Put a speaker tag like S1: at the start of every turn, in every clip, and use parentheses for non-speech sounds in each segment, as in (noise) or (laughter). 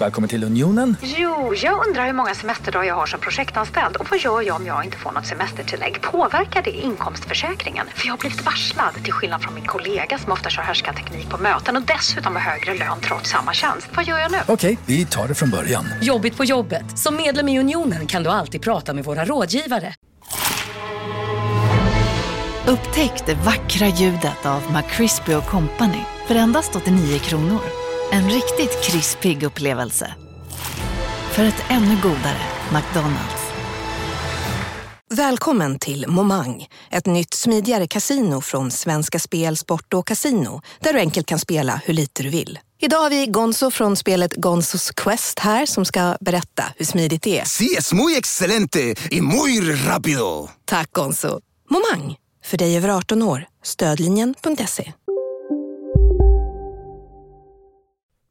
S1: Välkommen till Unionen.
S2: Jo, jag undrar hur många semesterdagar jag har som projektanställd och vad gör jag om jag inte får något semestertillägg? Påverkar det inkomstförsäkringen? För jag har blivit varslad, till skillnad från min kollega som ofta kör teknik på möten och dessutom har högre lön trots samma tjänst. Vad gör jag nu?
S1: Okej, vi tar det från början.
S3: Jobbigt på jobbet. Som medlem i Unionen kan du alltid prata med våra rådgivare.
S4: Upptäck det vackra ljudet av McCrispy Company för endast 89 kronor. En riktigt krispig upplevelse. För ett ännu godare McDonalds.
S5: Välkommen till Momang, ett nytt smidigare kasino från Svenska Spel, Sport och Casino där du enkelt kan spela hur lite du vill. Idag har vi Gonzo från spelet Gonzos Quest här som ska berätta hur smidigt det är.
S6: Sí, es muy excelente y muy rápido.
S5: Tack Gonzo! Momang, för dig över 18 år. Stödlinjen.se.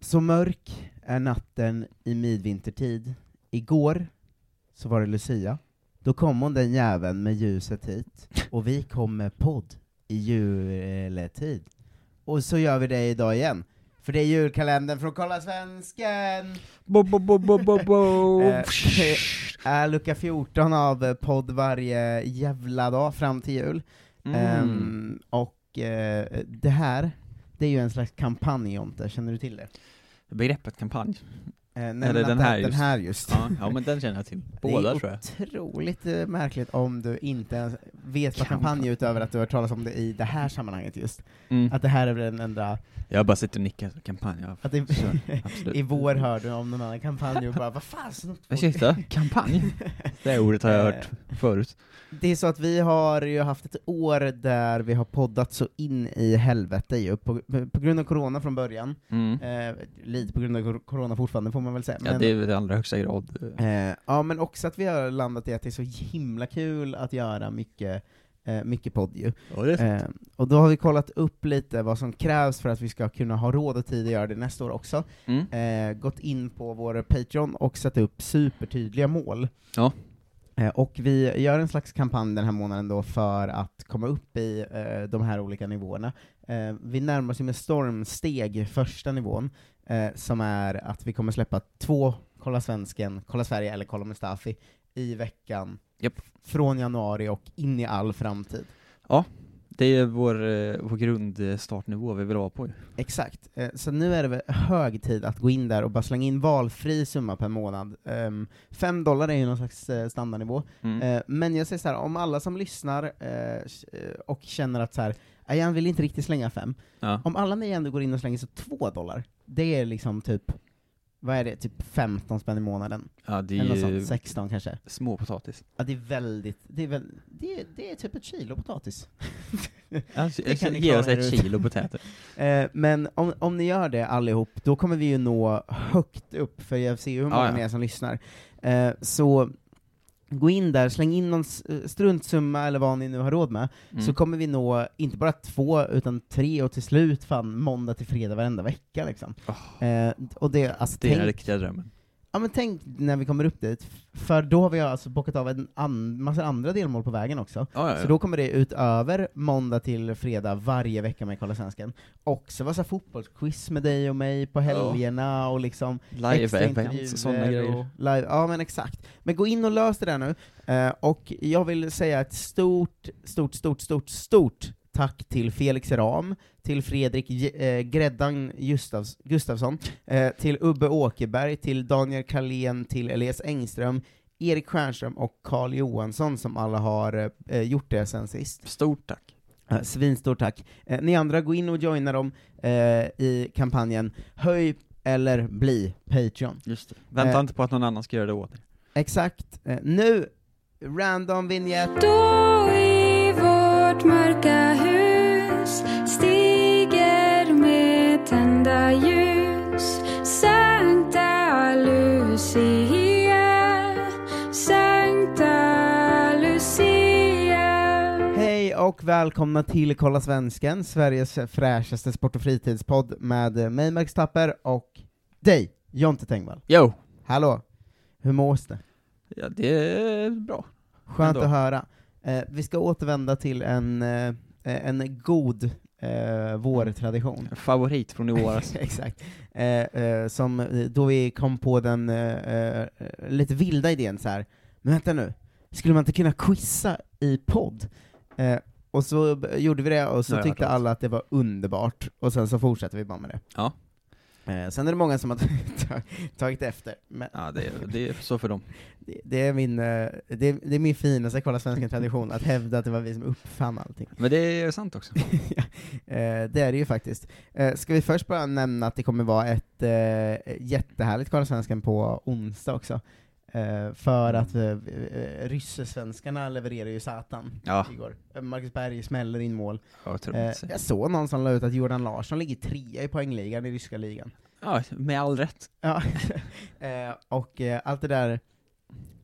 S7: Så mörk är natten i midvintertid. Igår så var det Lucia. Då kom hon den jäveln med ljuset hit, och vi kom med podd i juletid. Och så gör vi det idag igen. För det är julkalendern från Kolla Svensken!
S8: Bo, bo, bo, bo, bo, bo.
S7: (laughs) Eh, är lucka 14 av eh, podd varje jävla dag fram till jul.
S8: Mm.
S7: Ehm, och eh, det här, det är ju en slags kampanj Jonte, känner du till det?
S8: Begreppet kampanj.
S7: Eh, nej, men
S8: Eller den
S7: att-
S8: här
S7: den
S8: just.
S7: här just.
S8: Ja, ja men den känner jag till. Båda tror jag.
S7: (laughs) Det är otroligt eh, märkligt om du inte ens vet vad
S8: Kanske.
S7: kampanj är utöver att du har hört talas om det i det här sammanhanget just.
S8: Mm.
S7: Att det här är väl den enda,
S8: Jag bara sitter och nickar. så Kampanj, ja.
S7: att i, (laughs)
S8: Så, absolut.
S7: i vår hörde du om någon annan kampanj och bara vad fan snott folk."
S8: Ursäkta? Kampanj? (laughs) Det ordet har jag hört
S7: Ehm.
S8: förut.
S7: Det är så att vi har ju haft ett år där vi har poddat så in i helvete ju, på, på grund av corona från början,
S8: Mm.
S7: eh, lite på grund av cor- corona fortfarande får man väl säga.
S8: Ja,
S7: men-
S8: det är väl i allra högsta grad. eh,
S7: Eh, ja, men också att vi har landat i att det är så himla kul att göra mycket, eh, mycket podd ju. Eh, och då har vi kollat upp lite vad som krävs för att vi ska kunna ha råd och tid att göra det nästa år också.
S8: Mm.
S7: Eh, gått in på vår Patreon och satt upp supertydliga mål.
S8: Ja.
S7: Eh, och vi gör en slags kampanj den här månaden då för att komma upp i eh, de här olika nivåerna. Eh, vi närmar oss ju med stormsteg första nivån, eh, som är att vi kommer släppa två Kolla Svensken, Kolla Sverige eller Kolla Mustafi i veckan
S8: Japp.
S7: från januari och in i all framtid.
S8: Det är vår, eh, vår grundstartnivå vi vill vara på ju.
S7: Exakt. Eh, Så nu är det väl hög tid att gå in där och bara slänga in valfri summa per månad. Ehm, Fem dollar är ju någon slags eh, standardnivå.
S8: Mm.
S7: Eh, Men jag säger så här, om alla som lyssnar eh, s- eh, och känner att så här, "Nej, jag vill inte riktigt slänga fem,
S8: Ja.
S7: om alla ni ändå går in och slänger så två dollar, det är liksom typ, vad är det, typ 15 spänn i månaden?
S8: ja, det
S7: Eller något
S8: är
S7: sånt,
S8: ju
S7: 16 kanske?
S8: småpotatis.
S7: Ja, det är väldigt, det är, väl, det är, det är typ ett kilo potatis.
S8: Alltså,
S7: Det kan ni
S8: ge oss
S7: klara er
S8: ett
S7: ut.
S8: kilo
S7: (laughs)
S8: potäter.
S7: Eh, men om, om ni gör det allihop, då kommer vi ju nå högt upp, för jag ser ju hur många
S8: Ah, ja.
S7: ni är som lyssnar. Eh, så gå in där, släng in någon s- eh, struntsumma eller vad ni nu har råd med, så
S8: Mm.
S7: kommer vi nå inte bara två, utan tre och till slut fan måndag till fredag varenda vecka liksom.
S8: Åh,
S7: Eh, och det, alltså,
S8: det är den
S7: tänk,
S8: riktiga drömmen.
S7: ja, men tänk när vi kommer upp dit, f- för då har vi alltså bockat av en an, massa andra delmål på vägen också.
S8: Ja, ja, ja.
S7: Så då kommer det utöver måndag till fredag varje vecka med Kolla Svensken, också vara så här fotbollsquiz med dig och mig på helgerna och liksom
S8: Live events
S7: intervjuer
S8: och sådana grejer.
S7: och live, ja men exakt. Men gå in och lös det där nu, eh, och jag vill säga ett stort, stort, stort, stort, stort tack till Felix Ram, till Fredrik J- eh, ”Gräddan” Gustavs, Gustafsson, eh, till Ubbe Åkerberg, till Daniel Kalén, till Elias Engström, Erik Stjernström och Carl Johansson som alla har eh, gjort det sen sist.
S8: Stort tack.
S7: Ja, Svinstort tack. Eh, ni andra, gå in och joina dem eh, i kampanjen Höj eller bli Patreon.
S8: Just det. Vänta
S7: Eh.
S8: inte på att någon annan ska göra det åt er.
S7: Exakt. Eh, nu, random vignett.
S9: Då i vårt mörka hus stiger med tända ljus Sankta Lucia, Sankta Lucia
S7: Hej och välkomna till Kolla Svensken, Sveriges fräschaste sport och fritidspodd med eh, mig Max Tapper och dig, Jonte Tengvall.
S8: Jo!
S7: Hallå! Hur mås det?
S8: Ja, det är bra.
S7: Skönt
S8: Ändå.
S7: att höra. Eh, vi ska återvända till en, eh, en god eh, vårtradition.
S8: Favorit från i våras.
S7: (laughs) Exakt. Eh, eh, som eh, då vi kom på den eh, eh, lite vilda idén så här. men vänta nu, skulle man inte kunna quizza i podd? Eh, och så b- gjorde vi det, och så
S8: Det har jag
S7: tyckte
S8: hört om.
S7: alla att det var underbart, och sen så fortsatte vi bara med det.
S8: Ja.
S7: Eh, sen är det många som har (laughs) ta- tagit efter, men
S8: (laughs) Ja, det, är- det är så för dem.
S7: det, det, är min, eh, det, är- det är min finaste kolla svenska tradition, att hävda att det var vi som uppfann allting.
S8: Men det är sant (laughs) också.
S7: (laughs) Eh, det är det ju faktiskt. Eh, ska vi först bara nämna att det kommer vara ett eh, jättehärligt Kolla Svensken på onsdag också. Eh, för att eh, eh, ryssesvenskarna levererar ju satan
S8: Ja.
S7: igår. Eh, Marcus Berg smäller in mål.
S8: Ja,
S7: Eh,
S8: otroligt.
S7: jag såg någon som la ut att Jordan Larsson ligger trea i poängligan i ryska ligan.
S8: Ja, med all rätt.
S7: Ja. (laughs) eh, och eh, allt det där,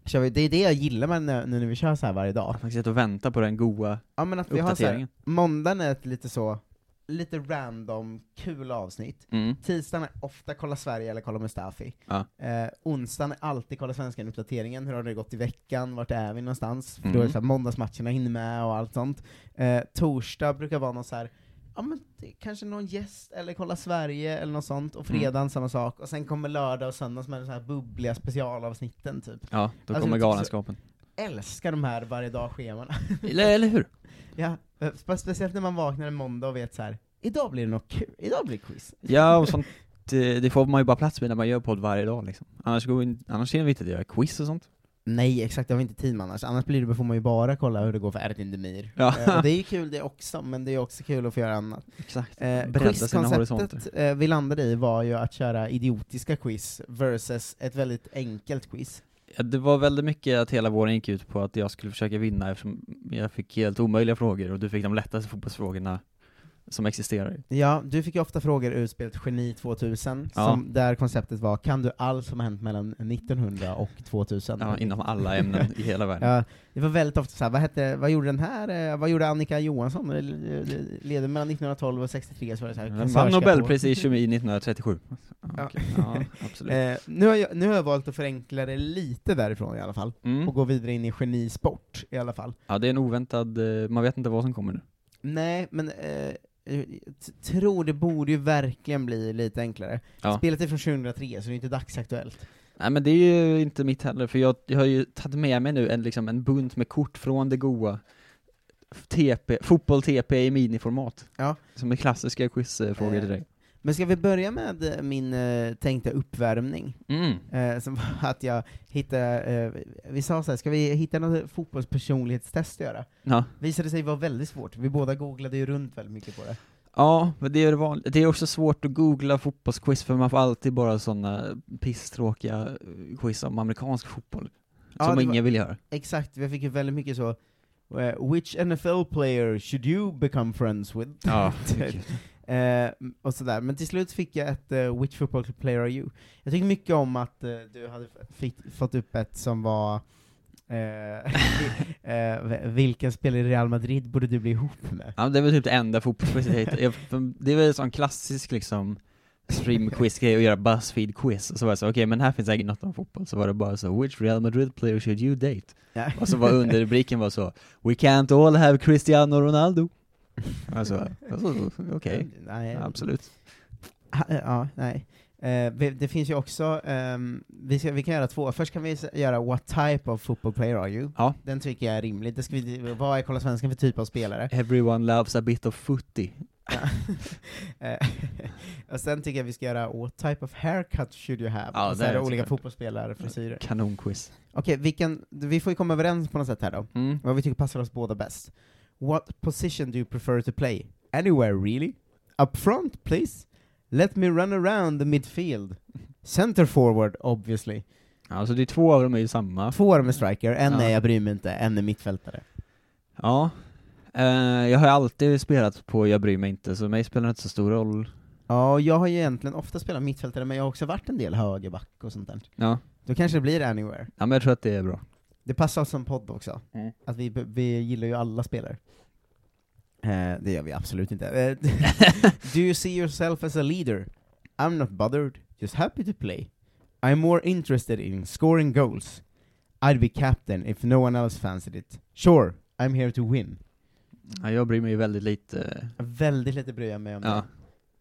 S7: kör vi, det är det jag gillar med när- nu när vi kör så här varje dag.
S8: Jag har faktiskt suttit och väntat på den goa
S7: Ja men att vi har så här,
S8: uppdateringen.
S7: måndagen är ett lite så, lite random, kul avsnitt.
S8: Mm.
S7: Tisdagen är ofta Kolla Sverige eller Kolla Mustafi.
S8: Ja.
S7: Eh, onsdagen är alltid Kolla Svenskan-uppdateringen, hur har det gått i veckan, vart är vi någonstans? För då är det
S8: Mm.
S7: så här, måndagsmatcherna hinner med och allt sånt. Eh, torsdag brukar vara någon så här, ja men det, kanske någon gäst eller Kolla Sverige eller något sånt, och
S8: Mm.
S7: fredagen samma sak, och sen kommer lördag och söndag som är de så här bubbliga specialavsnitten typ.
S8: Ja, då
S7: Alltså,
S8: kommer
S7: jag tycker så-
S8: galenskapen.
S7: Älskar de här varje dag-schemana.
S8: Eller, eller hur?
S7: ja, eh, spe- speciellt när man vaknar en måndag och vet så här. idag blir det något kul, idag blir det quiz.
S8: Ja, och sånt. eh, Det får man ju bara plats med när man gör podd varje dag liksom. Annars, går vi, in- annars hinner vi inte göra quiz och sånt.
S7: Nej, exakt, det har vi inte tid med annars. Annars blir det, får man ju bara kolla hur det går för Erdin Demir. Eh,
S8: Ja,
S7: och det är ju kul det också, men det är också kul att få göra annat.
S8: exakt.
S7: Eh,
S8: Bredda sina horisonter.
S7: Quizkonceptet eh, vi landade i var ju att köra idiotiska quiz versus ett väldigt enkelt quiz.
S8: Ja, det var väldigt mycket att hela våren gick ut på att jag skulle försöka vinna eftersom jag fick helt omöjliga frågor och du fick de lättaste fotbollsfrågorna som existerar.
S7: Ja, du fick ju ofta frågor ur spelet Geni 2000,
S8: Ja.
S7: som, där konceptet var 'Kan du allt som har hänt mellan 1900 och 2000?'
S8: Ja, inom alla ämnen i hela världen.
S7: Ja, det var väldigt ofta såhär, vad, hette, vad gjorde den här, eh, vad gjorde Annika Johansson? Eh, Levde mellan 1912 och 63 så var det såhär,
S8: Den
S7: kassörska
S8: vann
S7: på-
S8: Nobelpris i kemi 1937.
S7: Ja.
S8: Ja, okej.
S7: (laughs)
S8: ja absolut.
S7: Eh, nu, har jag, nu har jag valt att förenkla det lite därifrån i alla fall, och
S8: Mm.
S7: gå vidare in i genisport i alla fall.
S8: Ja, det är en oväntad, eh, man vet inte vad som kommer nu.
S7: Nej, men eh, jag t- tror det borde ju verkligen bli lite enklare.
S8: Ja.
S7: Spelet är från 2003, så det är inte dagsaktuellt.
S8: Nej men det är ju inte mitt heller, för jag, jag har ju tagit med mig nu en, liksom, en bunt med kort från det goa TP, fotboll-TP i miniformat.
S7: Ja.
S8: Som är klassiska quizfrågor
S7: Eh.
S8: till dig.
S7: Men ska vi börja med eh, min eh, tänkta uppvärmning?
S8: Mm.
S7: Eh, som (laughs) var att jag hittade, eh, vi sa så här, ska vi hitta något fotbollspersonlighetstest att göra?
S8: Ja.
S7: Visade sig vara väldigt svårt, vi båda googlade ju runt väldigt mycket på det.
S8: Ja, men det är, det, vanliga. det är också svårt att googla fotbollsquiz för man får alltid bara sådana pisstråkiga eh, quiz om amerikansk fotboll.
S7: Ja,
S8: som
S7: det
S8: ingen
S7: var- (laughs)
S8: vill göra.
S7: Exakt, vi fick ju väldigt mycket så, eh, which NFL player should you become friends with? (laughs) Typ. Eh, och sådär. Men till slut fick jag ett eh, Which football player are you? Jag tycker mycket om att eh, du hade f- fick, fått upp ett som var eh, (laughs) eh, v- Vilken spelare i Real Madrid borde du bli ihop med?
S8: Ja, det var typ det enda fotbollsquizet jag hittade. Jag- Det var en sån klassisk liksom streamquiz-grej att göra Buzzfeed-quiz. Och så var det så, okej men här finns säkert något om fotboll. Så var det bara så, which Real Madrid player should you date?
S7: Ja.
S8: Och så var underrubriken var så, we can't all have Cristiano Ronaldo. Alltså, alltså okej.
S7: (laughs) Nej,
S8: Ja, absolut.
S7: Ha- Ja, nej. Eh, vi- det finns ju också, ehm, vi, ska, vi kan göra två. Först kan vi s- göra What type of football player are you?
S8: Ja.
S7: Den tycker jag är rimlig. Det ska vi, vad är Kolla Svenskan för typ av spelare?
S8: Everyone loves a bit of footy.
S7: (laughs) Eh, och sen tycker jag vi ska göra What type of haircut should you have?
S8: Ja,
S7: och så
S8: det
S7: är det
S8: är
S7: olika
S8: såklart.
S7: fotbollsspelare-frisyrer.
S8: Kanonquiz.
S7: Okej, vilken, vi får ju komma överens på något sätt här då,
S8: Mm.
S7: vad vi tycker passar oss båda bäst. What position do you prefer to play? Anywhere really? Up front please? Let me run around the midfield? Center forward obviously.
S8: Alltså det är två av dem är ju samma.
S7: Två av dem är striker, en
S8: Ja.
S7: är jag bryr mig inte, en är mittfältare.
S8: Ja. Eh, jag har ju alltid spelat på Jag bryr mig inte, så mig spelar det inte så stor roll.
S7: Ja, och jag har ju egentligen ofta spelat mittfältare, men jag har också varit en del högerback och sånt där.
S8: Ja.
S7: Då kanske det blir anywhere.
S8: ja, men jag tror att det är bra.
S7: Det passar oss som podd också,
S8: Mm.
S7: att vi, vi gillar ju alla spelare. Eh, det gör vi absolut (laughs) inte. Eh, Do you see yourself as a leader? I'm not bothered, just happy to play. I'm more interested in scoring goals. I'd be captain if no one else fancied it. Sure, I'm here to win.
S8: Ja, jag bryr mig ju väldigt lite.
S7: Väldigt lite bryr jag mig om
S8: Ja,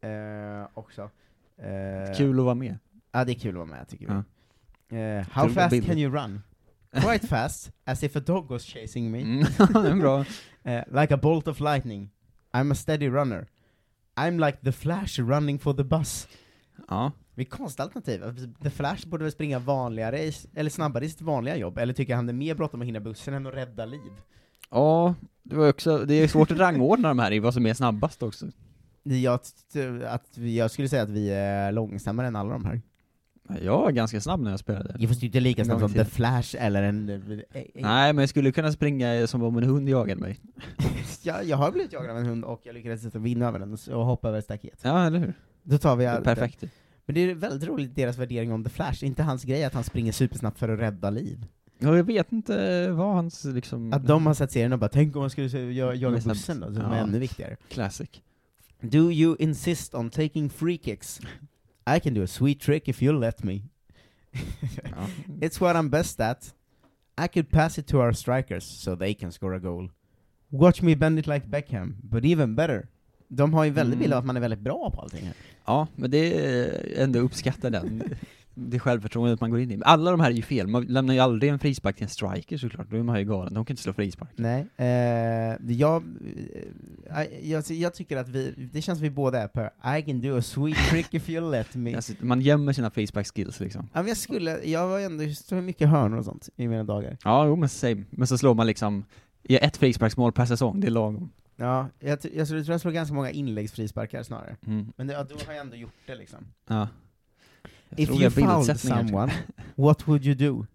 S7: det eh, också. Eh,
S8: kul att vara med.
S7: Ja, det är kul att vara med tycker vi.
S8: Ja.
S7: Eh, how
S8: Kul och
S7: fast
S8: billigt.
S7: can you (laughs) run? Quite fast, as if a dog was chasing me.
S8: (laughs) Mm, det är bra.
S7: Eh, like a bolt of lightning. I'm a steady runner. I'm like the flash running for the bus.
S8: Ja.
S7: Det är konstiga alternativ. The Flash borde väl springa vanligare, i, eller snabbare i sitt vanliga jobb, eller tycker han det är mer bråttom att hinna bussen än att rädda liv?
S8: Ja, det var också, det är svårt att rangordna de här i vad som är snabbast också.
S7: Jag, t- t- att, vi- jag skulle säga att vi är långsammare än alla de här.
S8: Jag var ganska snabb när jag spelade.
S7: Jag förstår inte lika snabbt
S8: Lång
S7: som
S8: tid.
S7: The Flash eller en... eh, eh,
S8: Nej, men jag skulle kunna springa som om en hund jagade mig.
S7: eh, Jag, jag har blivit jagad av en hund och jag lyckades inte vinna över den och s- och hoppa över ett staket.
S8: Ja, eller hur?
S7: Då tar vi
S8: Det är
S7: allt.
S8: Perfekt.
S7: Men det är väldigt roligt deras värdering om The Flash, Det är inte hans grej att han springer supersnabbt för att rädda liv.
S8: Ja, jag vet inte vad hans liksom...
S7: Att de har sett serien och bara 'Tänk om man skulle se- jag- jaga
S8: Men snabbt.
S7: bussen då' som
S8: Ja.
S7: är ännu viktigare.
S8: Classic.
S7: Do you insist on taking free kicks? I can do a sweet trick if you let me.
S8: Ja.
S7: It's what I'm best at. I could pass it to our strikers so they can score a goal. Watch me bend it like Beckham, but even better. De har ju väldigt
S8: Mm.
S7: bild av att man är väldigt bra på allting här.
S8: ja, men det är ändå uppskattar den. Det självförtroendet man går in i. Men Alla de här är ju fel, man lämnar ju aldrig en frispark till en striker såklart, då är man ju galen, de kan inte slå frispark.
S7: Nej, eh, jag, eh, jag, jag tycker att vi, det känns som vi båda är på I can do a sweet trick if you let me.
S8: Alltså, man gömmer sina frisparksskills liksom.
S7: Ja, men jag skulle, jag var ändå, jag stod mycket hörnor och sånt i mina dagar.
S8: Ja, jo men same. Men så slår man liksom, ja, ett frisparksmål per säsong, det är lagom.
S7: Ja, jag, t- jag tror jag slog ganska många inläggsfrisparkar snarare.
S8: Mm.
S7: Men det, ja, då har jag ändå gjort det liksom.
S8: Ja. Jag
S7: If
S8: tror
S7: you
S8: jag
S7: found
S8: bildsättningar.
S7: someone, what would you do?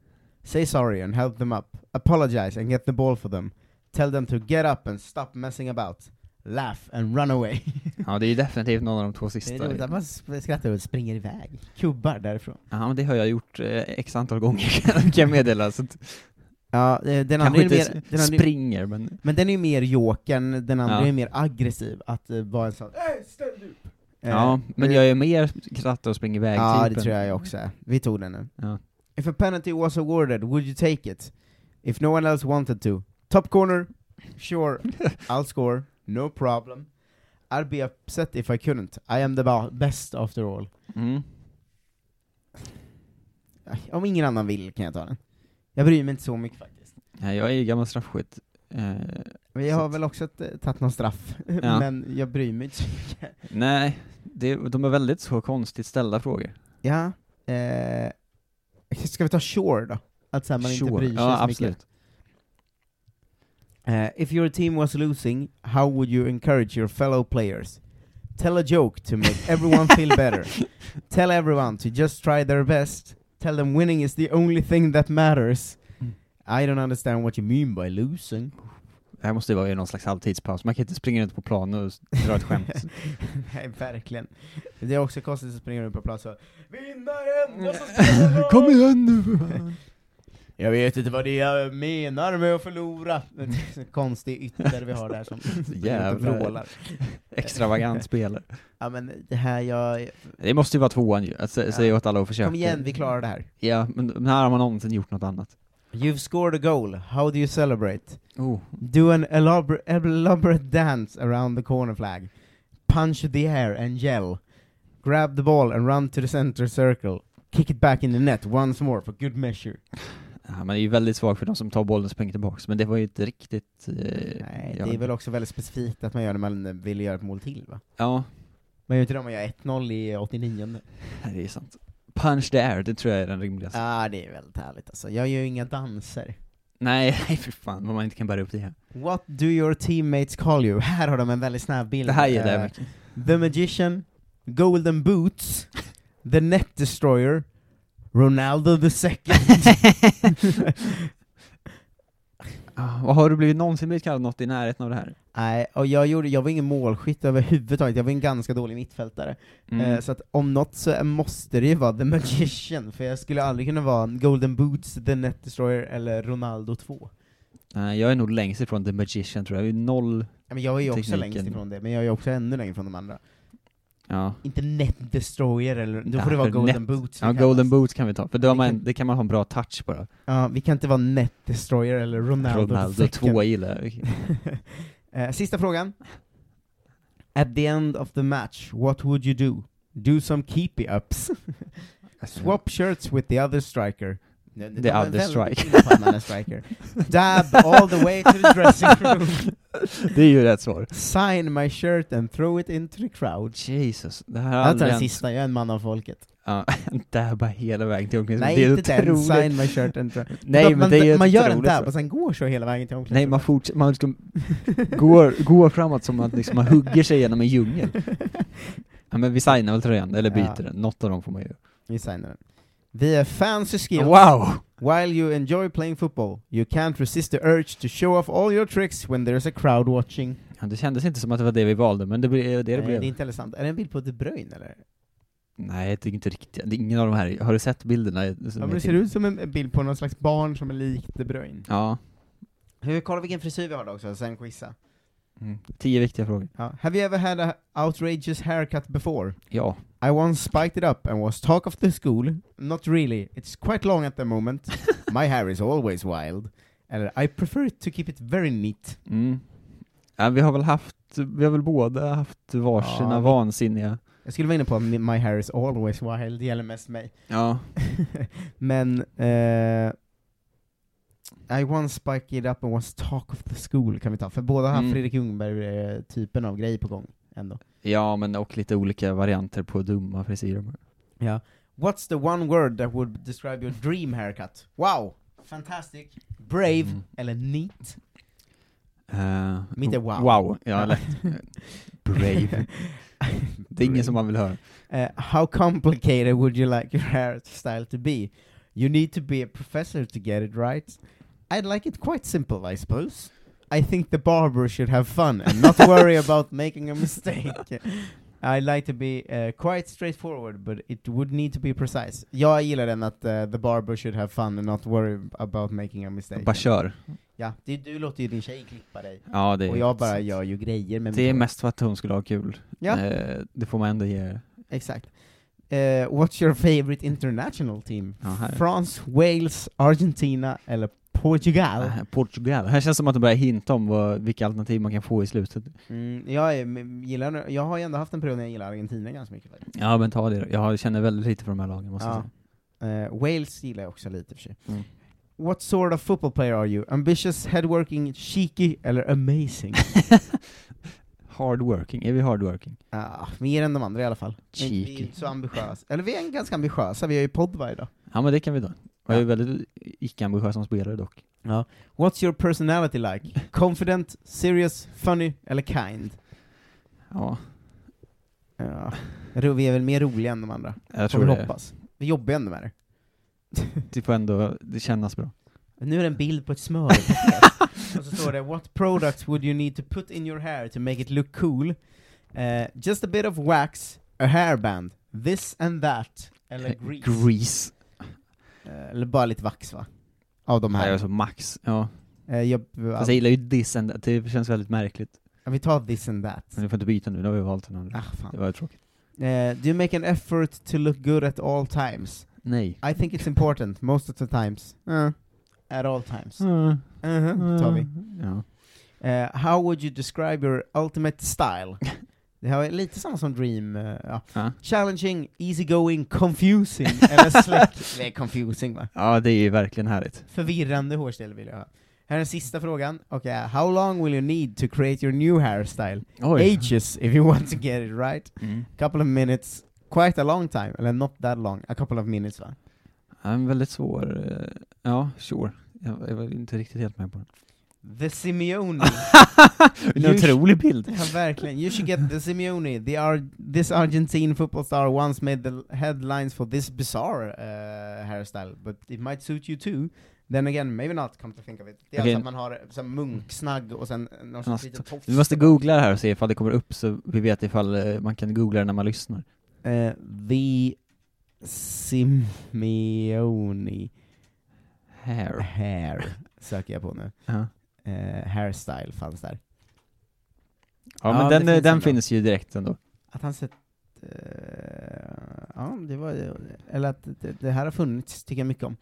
S7: Say sorry and help them up. Apologize and get the ball for them. Tell them to get up and stop messing about. Laugh and run (laughs) away.
S8: Ja, det är ju definitivt någon av de två
S7: Det är
S8: sista.
S7: roligt att man s- skrattar och springer iväg. Kubbar därifrån.
S8: Ja, men det har jag gjort eh, x antal gånger, (laughs) kan jag meddela. Så att,
S7: Ja, eh, den andra
S8: kanske
S7: är ju
S8: inte
S7: mer, den
S8: s-
S7: andra, är-
S8: springer, men
S7: men den är ju mer jokern, den andra
S8: Ja.
S7: är mer aggressiv, att eh, vara en sån hey, stand up! Eh,
S8: Ja, men jag är mer kratta och springer iväg
S7: Ja, det
S8: typen.
S7: tror jag också är. Vi tog den nu.
S8: Ja.
S7: If a penalty was awarded, would you take it? If no one else wanted to? Top corner?
S8: (laughs)
S7: Sure, I'll score, no problem. I'd be upset if I couldn't. I am the ba- best after all.
S8: Mm.
S7: Om ingen annan vill kan jag ta den. Jag bryr mig inte så mycket faktiskt.
S8: Ja, jag är ju gammal straffskytt. Eh,
S7: Men jag har
S8: Så-
S7: väl också t- tagit någon straff,
S8: Ja.
S7: men jag bryr mig inte så mycket.
S8: nej, det, de är väldigt så konstigt ställda frågor.
S7: Ja, eh, ska vi ta sure då? Att så här, man inte
S8: Sure.
S7: bryr sig
S8: ja,
S7: så mycket.
S8: absolut.
S7: Uh, if your team was losing, how would you encourage your fellow players? Tell a joke to make everyone feel better.
S8: (laughs)
S7: Tell everyone to just try their best. Tell them winning is the only thing that matters.
S8: Mm.
S7: I don't understand what you mean by losing.
S8: Det här måste ju vara i någon slags halvtidspaus, man kan inte springa runt på planen och s- dra ett (laughs) skämt.
S7: (laughs) Nej, verkligen. Det är också konstigt att springa runt på plats och
S8: (laughs)
S7: Vinnaren måste spela
S8: Kom igen nu!
S7: Jag vet inte vad det jag menar med att (laughs) förlora. Konstig ytter vi har där (laughs) som
S8: Jävlar.
S7: vrålar.
S8: Extravagant spelare.
S7: Ja men det här, jag...
S8: Det måste ju vara tvåan ju, att sä-
S7: Ja.
S8: säga åt alla att försöka.
S7: Kom igen, vi klarar det här.
S8: Ja, men när har man någonsin gjort något annat?
S7: You've scored a goal. How do you celebrate?
S8: Oh.
S7: Do an elaborate, elaborate dance around the corner flag. Punch the air and yell. Grab the ball and run to the center circle. Kick it back in the net once more for good measure.
S8: Ja, man är ju väldigt svag för de som tar bollen och springer tillbaks, men det var ju inte riktigt... Eh,
S7: Nej,
S8: jag
S7: det är
S8: vet
S7: väl
S8: inte.
S7: också väldigt specifikt att man gör när man vill göra ett mål till va?
S8: Ja,
S7: Man gör inte det om man gör 1-0 i 89
S8: det är sant. Punch the air, det tror jag är den rimligaste.
S7: Ja, ah, det är väldigt härligt alltså. Jag gör ju inga danser.
S8: Nej, (laughs) nej för fan, vad man inte kan bära upp det här.
S7: What do your teammates call you? Här har de en väldigt snabb bild.
S8: Det här gillar
S7: Eh,
S8: jag mycket.
S7: The Magician, Golden Boots, The Net Destroyer, Ronaldo the (laughs) Second.
S8: Ah, och har du blivit någonsin blivit kallad något i närheten av det här?
S7: Nej, och jag, gjorde, jag var ingen målskytt överhuvudtaget, jag var en ganska dålig mittfältare.
S8: Mm.
S7: Eh, så att om något så måste det ju vara The Magician, för jag skulle aldrig kunna vara Golden Boots, The Net Destroyer eller Ronaldo 2.
S8: Nej, Eh, jag är nog längst ifrån The Magician tror jag, jag är ju noll...
S7: Ja, Men jag är ju också
S8: Tekniken.
S7: längst ifrån det, men jag är ju också ännu längre från de andra.
S8: Ja.
S7: Inte Net Destroyer, eller, då
S8: Ja,
S7: får det vara
S8: för
S7: Golden
S8: Net-
S7: Boots.
S8: Ja,
S7: det kallas.
S8: Golden Boots kan vi ta, för då har
S7: Det
S8: man,
S7: kan-
S8: det kan man ha en bra touch bara.
S7: Ja, vi kan inte vara Net Destroyer eller Ronaldo,
S8: Ronaldo (laughs)
S7: the Second.
S8: 2 gillar jag.
S7: (laughs) Eh, sista frågan. At the end of the match, what would you do? Do some
S8: (laughs)
S7: keepy-ups? Swap shirts with the other striker.
S8: The other striker.
S7: striker.
S8: (laughs)
S7: Dab all the way to the dressing room.
S8: Det är ju rätt svar.
S7: Sign my shirt and throw it into the crowd.
S8: Jesus, det här har
S7: Jag tar
S8: aldrig
S7: den
S8: hänt.
S7: sista, jag är en man av folket.
S8: Ja, (laughs) dabba hela vägen till omklädningsrummet.
S7: Nej,
S8: Det är
S7: inte den.
S8: otroligt.
S7: Sign my shirt and throw...
S8: Nej, men
S7: man,
S8: det är ju
S7: man gör en
S8: otroligt
S7: dab
S8: så.
S7: och sen går så hela vägen till
S8: Nej, man
S7: omklädningsrummet.
S8: fortsätter, man (laughs) liksom går, går framåt som att liksom man hugger sig genom
S7: (laughs)
S8: en djungel. Ja men vi signar väl tröjan, eller byter
S7: Ja.
S8: den, något av dem får man ju.
S7: Vi signar den. Vi är fans who skills.
S8: Wow!
S7: While you enjoy playing football, you can't resist the urge to show off all your tricks when there's a crowd watching.
S8: Ja, det kändes inte som att det var det vi valde, men det blev det det
S7: Nej,
S8: blev.
S7: det är inte heller sant. Är det en bild på De Bruyne eller?
S8: Nej, det är inte riktigt, det är ingen av de här, har du sett bilderna? som
S7: Ja, men
S8: är
S7: det ser
S8: till-
S7: ut som en en bild på någon slags barn som är likt De Bruyne.
S8: Ja.
S7: Hur, kolla vilken frisyr vi har då också, sen quizza.
S8: Mm. Tio viktiga frågor.
S7: Ja. Have you ever had a outrageous haircut before? (laughs)
S8: Ja.
S7: I once spiked it up and was talk of the school. Not really, it's quite long at the moment. My hair is always wild. Eller, I prefer to keep it very neat.
S8: Mm. ja. Vi har väl haft, vi har väl båda haft varsina
S7: Ja, vi-
S8: vansinniga...
S7: Jag skulle vara inne på att my hair is always wild, det gäller mest mig. (laughs)
S8: Ja.
S7: Men eh, I once spiked it up and was talk of the school kan vi ta, för båda har
S8: Mm.
S7: Fredrik Ljungberg-typen av grej på gång ändå.
S8: Ja, men och lite olika varianter på dumma frisyrer.
S7: Ja. What's the one word that would describe your dream haircut? Wow! Fantastic, brave,
S8: Mm.
S7: eller neat?
S8: Uh,
S7: Mitt är wow.
S8: Wow,
S7: (laughs)
S8: ja lätt. Brave. Det är ingen som man vill höra.
S7: Eh, how complicated would you like your (laughs) hairstyle to be? You need to be a professor to get it right. I'd like it quite simple, I suppose. I think the barber should have fun and
S8: (laughs)
S7: not worry about making a mistake. (laughs) I'd like to be uh, quite straightforward, but it would need to be precise. Jag gillar den att eh, the barber should have fun and not worry about making a mistake.
S8: Bara kör.
S7: Ja, det, du låter ju din tjej klippa dig.
S8: Ja, det är
S7: Och jag bara gör ju grejer med
S8: Det
S7: mitt
S8: är
S7: hår.
S8: mest för att hon skulle ha kul.
S7: Ja.
S8: Eh, det får man ändå ge er.
S7: Exakt. Eh, what's your favorite international team?
S8: Ja, här.
S7: France, Wales, Argentina eller Portugal?
S8: Ah, Portugal. Här känns det som att de börjar hinta om vad, vilka alternativ man kan få i slutet.
S7: Mm, jag, är, m- gillar, nu- jag har ju ändå haft en period när jag gillar Argentina ganska mycket faktiskt.
S8: Ja men ta det då. Jag känner väldigt lite för de här lagen måste jag
S7: Ja.
S8: säga.
S7: Eh, Wales gillar jag också lite i och för sig.
S8: Mm.
S7: What sort of football player are you? Ambitious, headworking, cheeky eller amazing?
S8: (laughs) Hardworking, är vi hardworking?
S7: ah, mer än de andra i alla fall. Men Vi är ju
S8: Cheeky.
S7: inte så ambitiösa. Eller vi är ganska ambitiösa, vi har ju podd varje dag.
S8: Ja men det kan vi då. Jag är väldigt icke-ambitiös som spelare dock.
S7: What's your personality like? Confident, serious, funny eller kind?
S8: Ja,
S7: Ja. Ro- Vi är väl mer roliga än de andra.
S8: jag
S7: Får vi
S8: tror det.
S7: hoppas. Vi jobbar ju ändå med det.
S8: Det får ändå det kännas bra.
S7: (laughs) Nu är det en bild på ett (laughs) smör. och så står det What products would you need to put in your hair to make it look cool? Eh, just a bit of wax, a hairband, this and that, eller grease.
S8: Grease.
S7: Eh, eller bara lite vax va? Av de
S8: Nej,
S7: här.
S8: alltså max. Ja.
S7: Eh, jag,
S8: Fast jag gillar ju this and that. det känns väldigt märkligt.
S7: ja, vi tar this and that.
S8: Men du får inte byta nu, nu har vi valt en annan.
S7: Ah, fan.
S8: Det var ju tråkigt.
S7: Eh, do you make an effort to look good at all times?
S8: Nej.
S7: I think it's important, most of the times. Eh, At all times.
S8: Mm.
S7: Mhm, tar vi.
S8: Ja.
S7: Eh, how would you describe your ultimate (laughs) style? Det här är lite samma som Dream. eh, ja.
S8: Ja.
S7: Challenging, easygoing, confusing, eller släck. (laughs) Det är confusing va?
S8: ja, det är ju verkligen härligt.
S7: Förvirrande hårstil vill jag ha. Här är den sista frågan. Okej, eh, how long will you need to create your new hairstyle?
S8: Oj.
S7: Ages, if you want to get it right.
S8: Mm.
S7: Couple of minutes, quite a long time, eller not that long, a couple of minutes va?
S8: Ja, en väldigt svår... eh, Ja, sure. Jag, jag var inte riktigt helt med på den.
S7: The Simeone.
S8: (laughs) En otrolig bild!
S7: (laughs) Ja, verkligen. You should get the Simeone. The Ar- this Argentine football star once made the l- headlines for this bizarre uh, hairstyle, but it might suit you too. Then again, maybe not, come to think of it. Det är
S8: Okej.
S7: alltså att man har eh, så här munksnagg och sen eh, någon sorts
S8: Något-
S7: liten tofs.
S8: Vi måste googla det här och se ifall det kommer upp så vi vet ifall eh, man kan googla det när man lyssnar.
S7: Eh, the Simeone
S8: Hair.
S7: hair söker jag på nu.
S8: Ja,
S7: Eh, hairstyle fanns där. Ja,
S8: ja
S7: det
S8: men den, eh,
S7: finns
S8: den
S7: ändå.
S8: finns ju direkt ändå.
S7: Att han sett... eh, ja, det var... Eller att det, det här har funnits, tycker jag mycket om.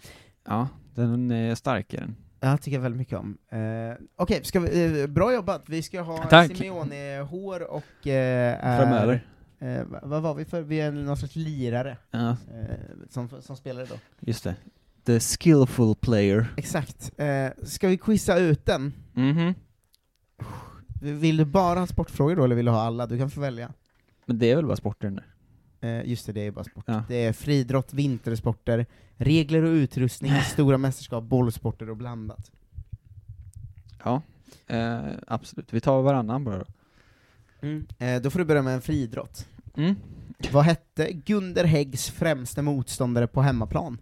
S8: Ja, den eh, är starkare.
S7: Jag tycker väldigt mycket om. Eh, Okej, ska vi, eh, bra jobbat. Vi ska ha
S8: Tack.
S7: Simeone-hår och... Eh, är-
S8: Framöver.
S7: Eh, va- vad var vi för? Vi är någon sorts lirare
S8: Ja,
S7: eh, som, som spelare då.
S8: just det. The skillful player.
S7: Exakt. Eh, ska vi quizza ut den?
S8: Mhm.
S7: Vill du bara ha sportfrågor då, eller vill du ha alla? Du kan få välja.
S8: Men det är väl bara sporten där?
S7: Eh, just det, det är bara sport.
S8: Ja.
S7: Det är friidrott, vintersporter, regler och utrustning, stora mästerskap, bollsporter och blandat.
S8: Ja, eh, absolut. Vi tar varannan bara då.
S7: Eh, då får du börja med en friidrott.
S8: Mm.
S7: Vad hette Gunder Häggs främste motståndare på hemmaplan?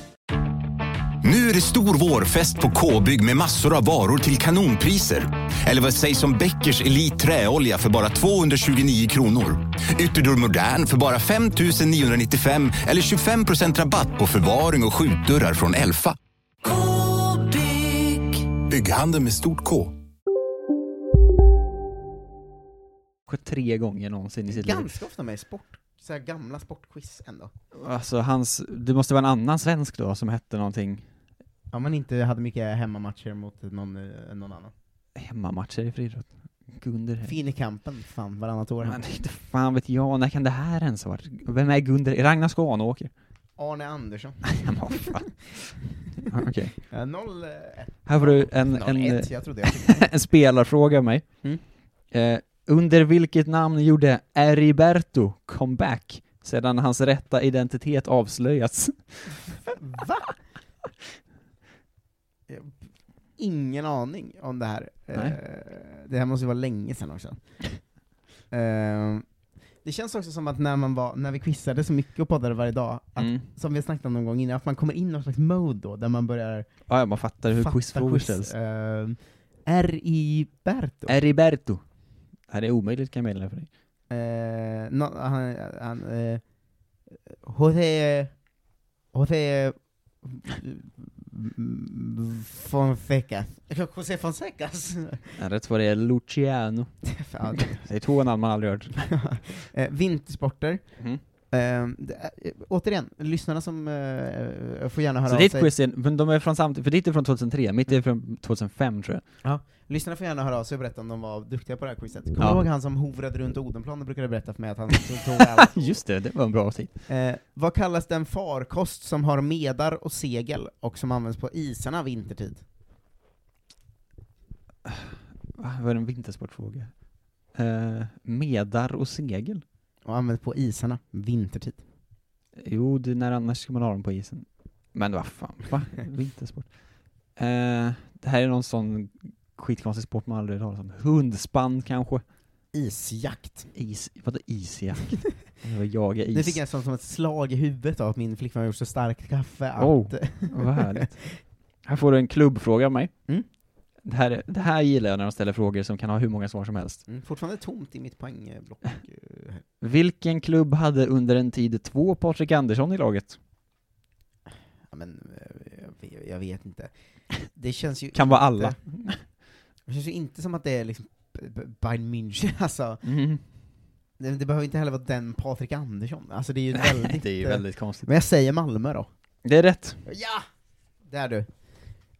S6: Nu är det stor vårfest på K-bygg med massor av varor till kanonpriser. Eller vad sägs om Bäckers Elite Träolja för bara 229 kronor? Ytterdörr Modern för bara 5 995 eller 25 rabatt på förvaring och skjutdörrar från Elfa.
S10: Bygghandeln med stort K.
S8: Kanske tre gånger någonsin i sitt liv.
S7: Ganska ofta med i sport, så här gamla sportquiz ändå.
S8: Alltså hans, det måste vara en annan svensk då som hette någonting.
S7: Ja, man inte hade mycket hemmamatcher mot någon, eh, någon annan.
S8: Hemmamatcher i friidrott. Gunder Hägg.
S7: Fin i kampen, fan, varannat år.
S8: Men inte fan vet jag, när kan det här ens ha varit? Vem är Gunder? Ragnar Skanåker?
S7: Arne Andersson.
S8: (laughs) Ja, men vad fan.
S7: (laughs)
S8: Ja, Okej.
S7: Eh, 0-1.
S8: Här får du en, en,
S7: 0-1, jag trodde jag fick
S8: en spelarfråga av mig.
S7: Mm.
S8: Eh, under vilket namn gjorde Eriberto comeback sedan hans rätta identitet avslöjats?
S7: Va? Jag- Ingen aning om det här.
S8: Nej.
S7: Eh, Det här måste ju vara länge sedan
S8: (laughs)
S7: också. Eh, Det känns också som att när, man var, när vi quizade så mycket och poddade varje dag, att,
S8: Mm.
S7: som vi har snackat om någon gång innan, att man kommer in i någon slags mode då, där man börjar
S8: (laughs) Ja, ja, man fattar hur
S7: fatta
S8: quizfrågor
S7: quiz.
S8: ställs.
S7: Eh, R.I. Berto.
S8: Eriberto. Det här är omöjligt kan jag meddela för dig.
S7: Eh, nå- han, han, eh, Jose, Jose
S8: (laughs)
S7: Fonseca. Jose Fonsecas?
S8: Ja, Rätt svar är Luciano.
S7: Fan.
S8: (laughs) Det är två namn man aldrig hört.
S7: eh, vintersporter.
S8: Mm.
S7: Eh, det, är- återigen, lyssnarna som eh, får gärna höra
S8: Så
S7: av
S8: ditt
S7: sig.
S8: quiz är, men de är från samtidigt, för ditt är från 2003, mitt är från 2005 tror jag.
S7: Lyssnarna får gärna höra av sig och berätta om de var duktiga på det här quizet. Kommer
S8: Ja.
S7: du ihåg han som hovrade runt Odenplan och brukade berätta för mig att han tog-
S8: (laughs)
S7: tog alla?
S8: Just det, det var en bra tid.
S7: Eh, vad kallas den farkost som har medar och segel och som används på isarna vintertid?
S8: Va, Var det Ah, en vintersportfråga? Eh, medar och segel?
S7: och använt på isarna vintertid.
S8: Jo, det, när annars ska man ha dem på isen? Men vad fan,
S7: (laughs)
S8: va? Vintersport? Eh, det här är någon sån skitkonstig sport man aldrig har talat om. Hundspann kanske?
S7: Isjakt.
S8: Is, vadå isjakt?
S7: (laughs)
S8: Det var jaga is.
S7: Det fick jag som, som ett slag i huvudet av att min flickvän har gjort så starkt kaffe att...
S8: Oh. Vad härligt. Här får du en klubbfråga av mig.
S7: Mm.
S8: Det, här, är- det här gillar jag när de ställer frågor som kan ha hur många svar som
S7: (laughs)
S8: helst.
S7: Mm, fortfarande tomt i mitt poängblock. Eh,
S8: Vilken klubb hade under en tid två Patrik Andersson i laget?
S7: Ja, men, eh, jag vet- jag vet inte. Det känns ju
S8: Kan vara
S7: inte,
S8: alla.
S7: Det känns ju inte som att det är liksom B- B- Bayern München, (laughs) alltså.
S8: Mm.
S7: Det, det behöver inte heller vara den Patrik Andersson. Alltså det är ju väldigt...
S8: det är ju
S7: eh,
S8: väldigt konstigt.
S7: Men jag säger Malmö då.
S8: Det är rätt.
S7: Ja! Där du.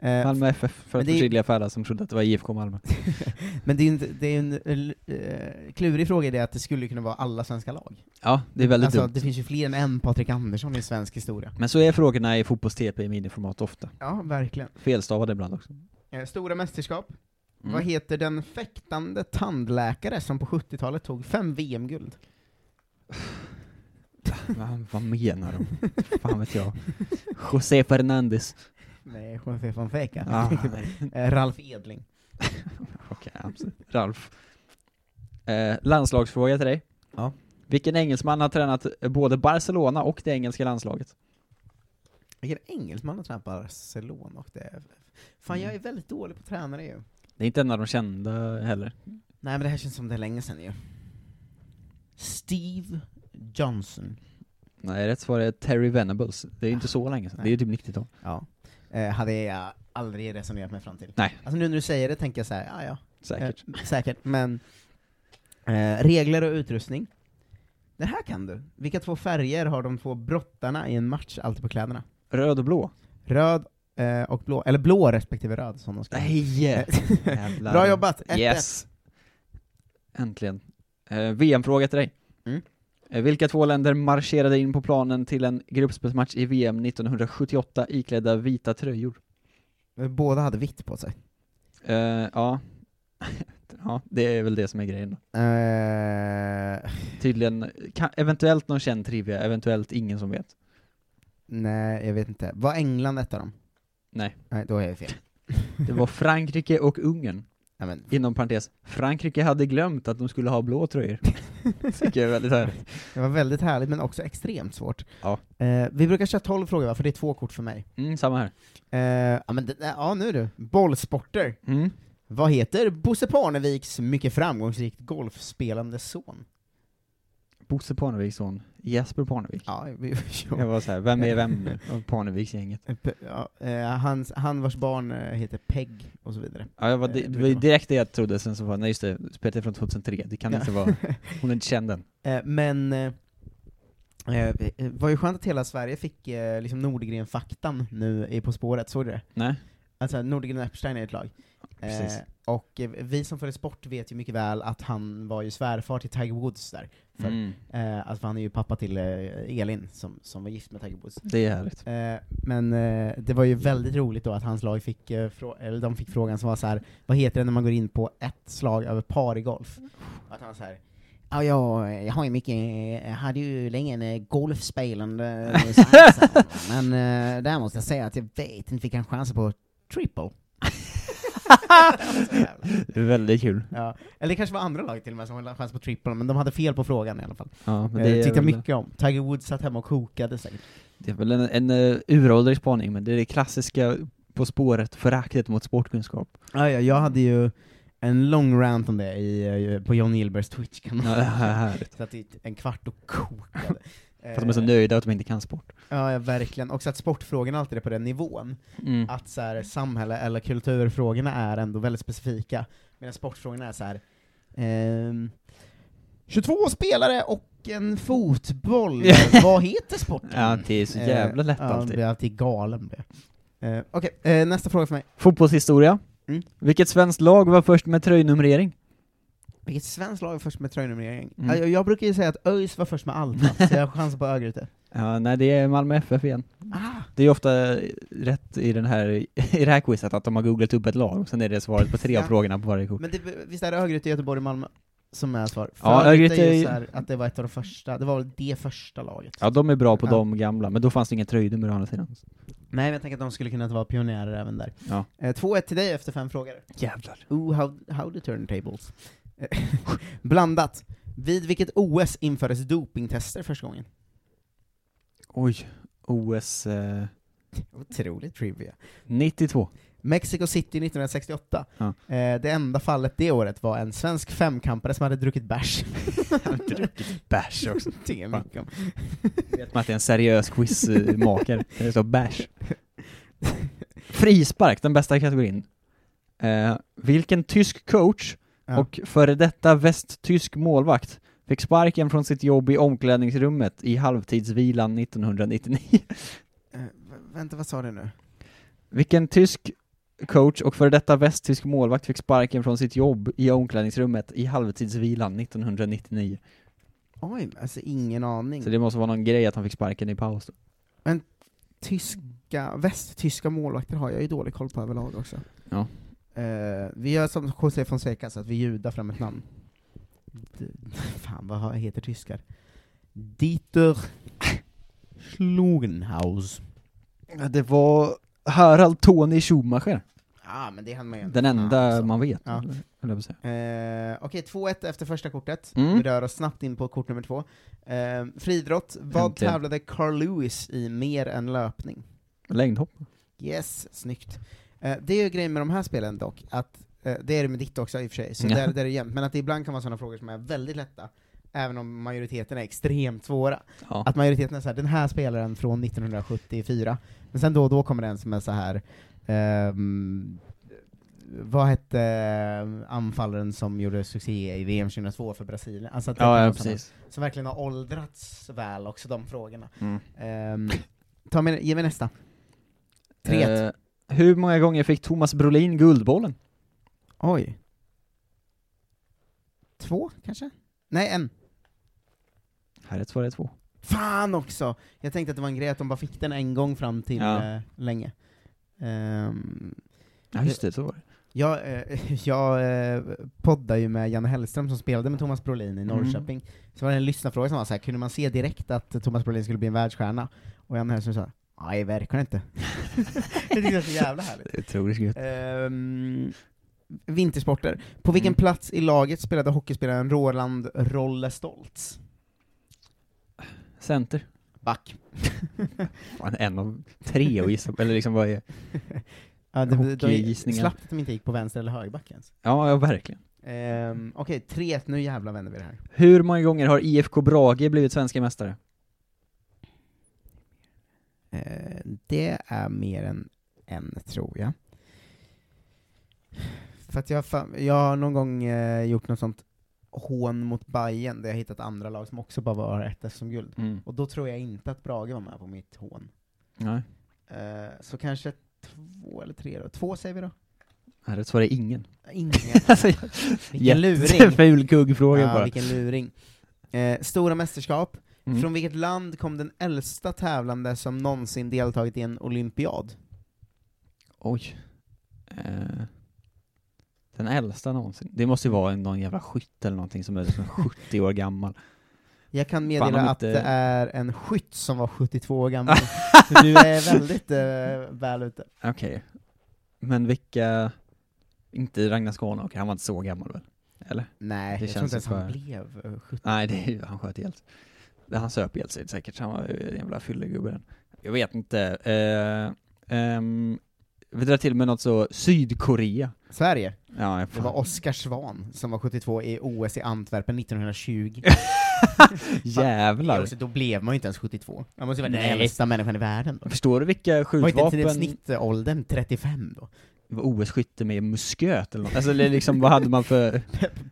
S7: Eh,
S8: Malmö FF, för
S7: Men
S8: att
S7: det är-
S8: förtydliga för alla som trodde att det var IFK Malmö.
S7: men det är ju en, det är ju en eh, klurig fråga i det att det skulle kunna vara alla svenska lag.
S8: Ja, det är väldigt
S7: alltså,
S8: dumt.
S7: det finns ju fler än en Patrik Andersson i svensk historia.
S8: Men så är frågorna i fotbolls-TP i miniformat ofta.
S7: Ja, verkligen.
S8: Felstavade ibland också.
S7: Eh, Stora mästerskap.
S8: Mm.
S7: Vad heter den fäktande tandläkare som på 70-talet tog fem VM-guld?
S8: Va, vad menar de? Fan vet jag. José Fernandes. (laughs)
S7: Nej, José Fonseca.
S8: Ja,
S7: Eh, Ralf Edling.
S8: Ah, Okej, absolut. Ralf. Eh, landslagsfråga till dig.
S7: Ja.
S8: Vilken engelsman har tränat både Barcelona och det engelska landslaget?
S7: Vilken engelsman har tränat Barcelona och det... Fan, jag är väldigt dålig på tränare ju.
S8: Det är inte en av de kända heller.
S7: Nej men det här känns som det är länge sedan ju. Steve Johnson.
S8: Nej, rätt svar är Terry Venables. Det är ju inte så länge sedan. Det är ju typ 90-tal.
S7: Ja. Eh, hade jag aldrig resonerat mig fram till.
S8: Nej.
S7: Alltså nu när du säger det tänker jag så här, ja ja.
S8: Säkert.
S7: Eh, säkert, men eh, regler och utrustning. Det här kan du. Vilka två färger har de två brottarna i en match alltid på kläderna?
S8: Eh, Röd och blå.
S7: Röd eh, och blå, eller blå respektive röd som de ska ha. Eh,
S8: Nej! (laughs) Jävlar.
S7: Bra jobbat! 1-1.
S8: Yes! Äntligen. Eh, VM-fråga till dig.
S7: Mm.
S8: Eh, vilka två länder marscherade in på planen till en gruppspelsmatch i VM 1978 iklädda vita tröjor?
S7: Båda hade vitt på sig.
S8: Eh, ja. (laughs) ja, det är väl det som är grejen. då.
S7: Eh,
S8: Tydligen, kan, eventuellt någon känd trivia, eventuellt ingen som vet.
S7: nej, jag vet inte. Var England ett av dem?
S8: Nej.
S7: Nej, då är jag fel. (laughs)
S8: Det var Frankrike och Ungern.
S7: Nej, men,
S8: Inom parentes, Frankrike hade glömt att de skulle ha blå tröjor. Tycker jag är väldigt härligt.
S7: det var väldigt härligt, men också extremt svårt.
S8: Ja.
S7: Eh, vi brukar köra 12 frågor va, för det är två kort för mig.
S8: Mm, samma här.
S7: Eh, ja, men det, ja, nu du. Bollsporter.
S8: Mm.
S7: Vad heter Bosse Parneviks mycket framgångsrikt golfspelande son?
S8: Bosse Parneviks son, Jesper Parnevik.
S7: Ja, vi, (laughs)
S8: Jag var såhär, vem är vem nu? av Parneviks-gänget.
S7: ja, eh, hans, han vars barn eh, heter Peg, och så vidare.
S8: Ja, jag var, Eh, det, det var ju direkt det jag trodde, sen så var nej just det, spelet är från 2003, det kan
S7: Ja.
S8: inte vara, hon är inte känd än.
S7: (laughs) Eh, men eh, eh, det var ju skönt att hela Sverige fick eh, liksom Nordgren-faktan nu i På spåret, såg du det?
S8: Nej.
S7: Alltså Nordgren och Epstein är ett lag.
S8: Precis.
S7: Eh, och eh, vi som följer sport vet ju mycket väl att han var ju svärfar till Tiger Woods där. För,
S8: Mm.
S7: eh, alltså, för han är ju pappa till eh, Elin, som, som var gift med Tiger Woods.
S8: Det är härligt.
S7: Eh, men eh, det var ju väldigt roligt då att hans lag fick, eh, frå- eller de fick frågan som var så här: vad heter det när man går in på ett slag över par i golf? Och att han var så här, Ja, jag, jag har ju mycket, jag hade ju länge en eh, golfspelande eh, svansa, men eh, där måste jag säga att jag vet inte, fick han chanser på triple? Så jävla-
S8: (laughs) Det är väldigt kul.
S7: ja. Eller det kanske var andra lag till och med som hade chans på triple, men de hade fel på frågan i alla fall.
S8: Ja, men
S7: Det
S8: det,
S7: eh,
S8: är
S7: tyckte jag
S8: väl,
S7: mycket om. Tiger Woods satt hemma och kokade säkert.
S8: det är väl en, en eh, uråldrig spaning, men det är det klassiska På spåret, föraktet mot sportkunskap.
S7: Ah, Ja, ja, jag hade ju en lång rant om det i, eh, på John Gillbergs Twitch-kanal.
S8: Ja, det här är härligt.
S7: Satt i en kvart och
S8: (laughs)
S7: kokade.
S8: För att de är
S7: Eh.
S8: så nöjda att de inte kan sport.
S7: Ja, ja, verkligen. Och så att sportfrågorna alltid är på den nivån.
S8: Mm.
S7: Att så här, samhälle eller kulturfrågorna är ändå väldigt specifika, medan sportfrågorna är så här. ehm, 22 spelare och en
S8: (laughs)
S7: fotboll, vad heter sporten?
S8: Ja, det är så jävla lätt
S7: eh, ja,
S8: alltid.
S7: Jag blir alltid galen på det. Eh, Okej, eh, nästa fråga för mig.
S8: Fotbollshistoria.
S7: Mm.
S8: Vilket svenskt lag var först med tröjnumrering?
S7: Vilket svenskt lag är först med tröjnumrering?
S8: Mm.
S7: Ja, Jag, jag brukar ju säga att ÖIS var först med allt,
S8: (laughs)
S7: va? så jag har chans på Örgryte.
S8: Ja, nej, det är Malmö FF igen.
S7: Ah,
S8: Det är ofta rätt i, den här, i det här quizet att de har googlat upp ett lag, och sen är det svaret på tre av
S7: Ja.
S8: frågorna på varje kort.
S7: men det, visst är det Örgryte, Göteborg och Malmö som är svar? För
S8: Ja, Örgryte
S7: är ju
S8: är-
S7: så här, att det var ett av de första, det var väl det första laget?
S8: Ja, de är bra på
S7: Ja.
S8: de gamla, men då fanns det inga tröjnummer å andra sidan.
S7: Nej, men jag tänker att de skulle kunna vara pionjärer även där.
S8: Ja.
S7: Eh, 2-1 till dig efter fem frågor.
S8: Jävlar.
S7: Ooh, how, how the turntables. (laughs) Eh, Blandat. Vid vilket OS infördes dopingtester första gången?
S8: Oj. OS eh,
S7: Otroligt trivia. (laughs)
S8: 92.
S7: Mexico City 1968.
S8: Ja.
S7: Eh, det enda fallet det året var en svensk femkampare som hade druckit bärs. druckit (laughs) bärs också. (laughs) Det är mycket om.
S8: Vet man att det är en seriös quizmakare. Det är så bärs. Frispark, den bästa kategorin. Eh, vilken tysk coach
S7: Ja.
S8: och före detta västtysk målvakt fick sparken från sitt jobb i omklädningsrummet i halvtidsvilan 1999?
S7: Eh, v- vänta, vad sa du nu?
S8: (laughs) Vilken tysk coach och före detta västtysk målvakt fick sparken från sitt jobb i omklädningsrummet i halvtidsvilan 1999?
S7: Oj, alltså ingen aning.
S8: Så det måste vara någon grej att han fick sparken i paus då.
S7: Tyska, västtyska målvakter har jag ju dålig koll på överlag också.
S8: Ja.
S7: Eh, vi gör som José Fonseca, så att vi judar fram ett namn. D- (laughs) fan, vad heter tyskar? Dieter Schlugenhaus.
S8: Det var Harald Tony Schumacher.
S7: Ja, Ja, men det hann man ju ändå.
S8: Den enda
S7: Ja, så.
S8: man vet,
S7: Ja.
S8: eller- eller vad säger
S7: Eh, Okej, 2-1 efter första kortet.
S8: Mm.
S7: Vi rör oss snabbt in på kort nummer två. Eh, friidrott. Vad
S8: Äntligen.
S7: tävlade Carl Lewis i mer än löpning?
S8: jag? Längdhopp?
S7: Yes, snyggt. Eh, det är ju grejen med de här spelen dock, att eh, det är det med ditt också i och för sig, så
S8: Ja.
S7: där, där är det jämnt, men att det ibland kan vara sådana frågor som är väldigt lätta, även om majoriteten är extremt svåra.
S8: Ja.
S7: Att majoriteten är så här, den här spelaren från 1974, men sen då och då kommer det en som är så här. ehm, vad hette eh, anfallaren som gjorde succé i VM 2002 för Brasilien? Alltså att det
S8: Ja,
S7: är
S8: ja,
S7: något som-
S8: precis.
S7: Som verkligen har åldrats väl också, de frågorna.
S8: Mm.
S7: Ehm, ta med, ge mig nästa. Tre ett.
S8: Eh, hur många gånger fick Thomas Brolin Guldbollen?
S7: Oj. Två, kanske? Nej, en.
S8: Här är ett svar, det är två.
S7: Fan också! Jag tänkte att det var en grej att de bara fick den en gång fram till
S8: Ja.
S7: eh, länge. Ehm,
S8: Ja, just det, så var det.
S7: jag eh, (laughs) jag eh, poddar ju med Janne Hellström som spelade med Thomas Brolin i Norrköping. Så var det en lyssnarfråga som var så här, kunde man se direkt att Thomas Brolin skulle bli en världsstjärna? Och Janne Hellström sa, nej verkligen inte. (laughs) det tyckte jag var så jävla härligt.
S8: Det är otroligt gött.
S7: Ehm, vintersporter. På vilken
S8: Mm.
S7: plats i laget spelade hockeyspelaren Roland Rolle Stoltz?
S8: Center.
S7: Back.
S8: Fan, en av tre att gissa på, eller liksom vad är...
S7: Ja, det, de,
S8: Hockeygissningar.
S7: slappt att de inte gick på vänster eller högerback ens.
S8: Ja, ja, verkligen.
S7: Ehm, Okej, 3-1, nu jävlar vänder vi det här.
S8: Hur många gånger har IFK Brage blivit svenska mästare?
S7: Ehm, det är mer än en, tror jag. För att jag, har fa- jag har någon gång eh, gjort något sånt hån mot Bayern där jag hittat andra lag som också bara var ett som guld
S8: Mm.
S7: Och då tror jag inte att Brage var med på mitt hån.
S8: Nej.
S7: Eh, så kanske två eller tre då. Två säger vi då?
S8: Här är ett svar, det är ingen. (laughs)
S7: Ingen.
S8: alltså,
S7: Vilken
S8: (laughs)
S7: luring.
S8: Jätteful kuggfråga
S7: Ja,
S8: bara.
S7: vilken luring. Eh, stora mästerskap.
S8: Mm.
S7: Från vilket land kom den äldsta tävlande som någonsin deltagit i en olympiad?
S8: Oj. Eh, den äldsta någonsin. Det måste ju vara en- någon jävla skytt eller någonting som är liksom 70 år (laughs) gammal.
S7: Jag kan
S8: Fan,
S7: meddela
S8: om
S7: att
S8: inte-
S7: det är en skytt som var 72 år
S8: (laughs)
S7: gammal. Så du är väldigt eh, väl ute.
S8: Okej. Men vilka... Inte Ragnar Skanåker, han var inte så gammal väl? Eller?
S7: Nej,
S8: Det
S7: jag tror inte ens
S8: känns
S7: han
S8: för-
S7: blev eh, 70.
S8: Nej, det är ju, han sköt ihjäl sig. Det- Han söp ihjäl sig säkert, han var ju en jävla fyllegubbe den. Jag vet inte. Eh, ehm, vi drar till med något så, Sydkorea.
S7: Sverige.
S8: Ja, jag
S7: Det var Oskar Svan som var 72 i OS i Antwerpen 1920.
S8: Jävlar.
S7: Ja, så då blev man ju inte ens 72. Man måste ju vara den
S8: Nej.
S7: äldsta människan i världen då.
S8: Förstår du vilka
S7: Var inte
S8: skjutvapen...
S7: ens snittåldern 35 då?
S8: var OS-skytte med musköt eller något. Alltså det är liksom, vad hade man för...